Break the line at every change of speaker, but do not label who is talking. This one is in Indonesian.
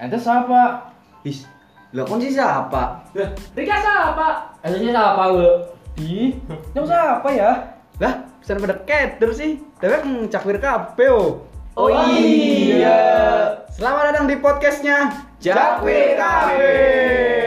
Ente siapa?
Is, lah kon sih siapa?
Rika siapa?
Asalnya siapa lu?
Ih, nyam siapa ya?
Lah, pesan pada cater sih. Tapi hmm, cakwir kabeh oh. iya.
Oh iya.
Selamat datang di podcastnya
Cakwir Kabeh.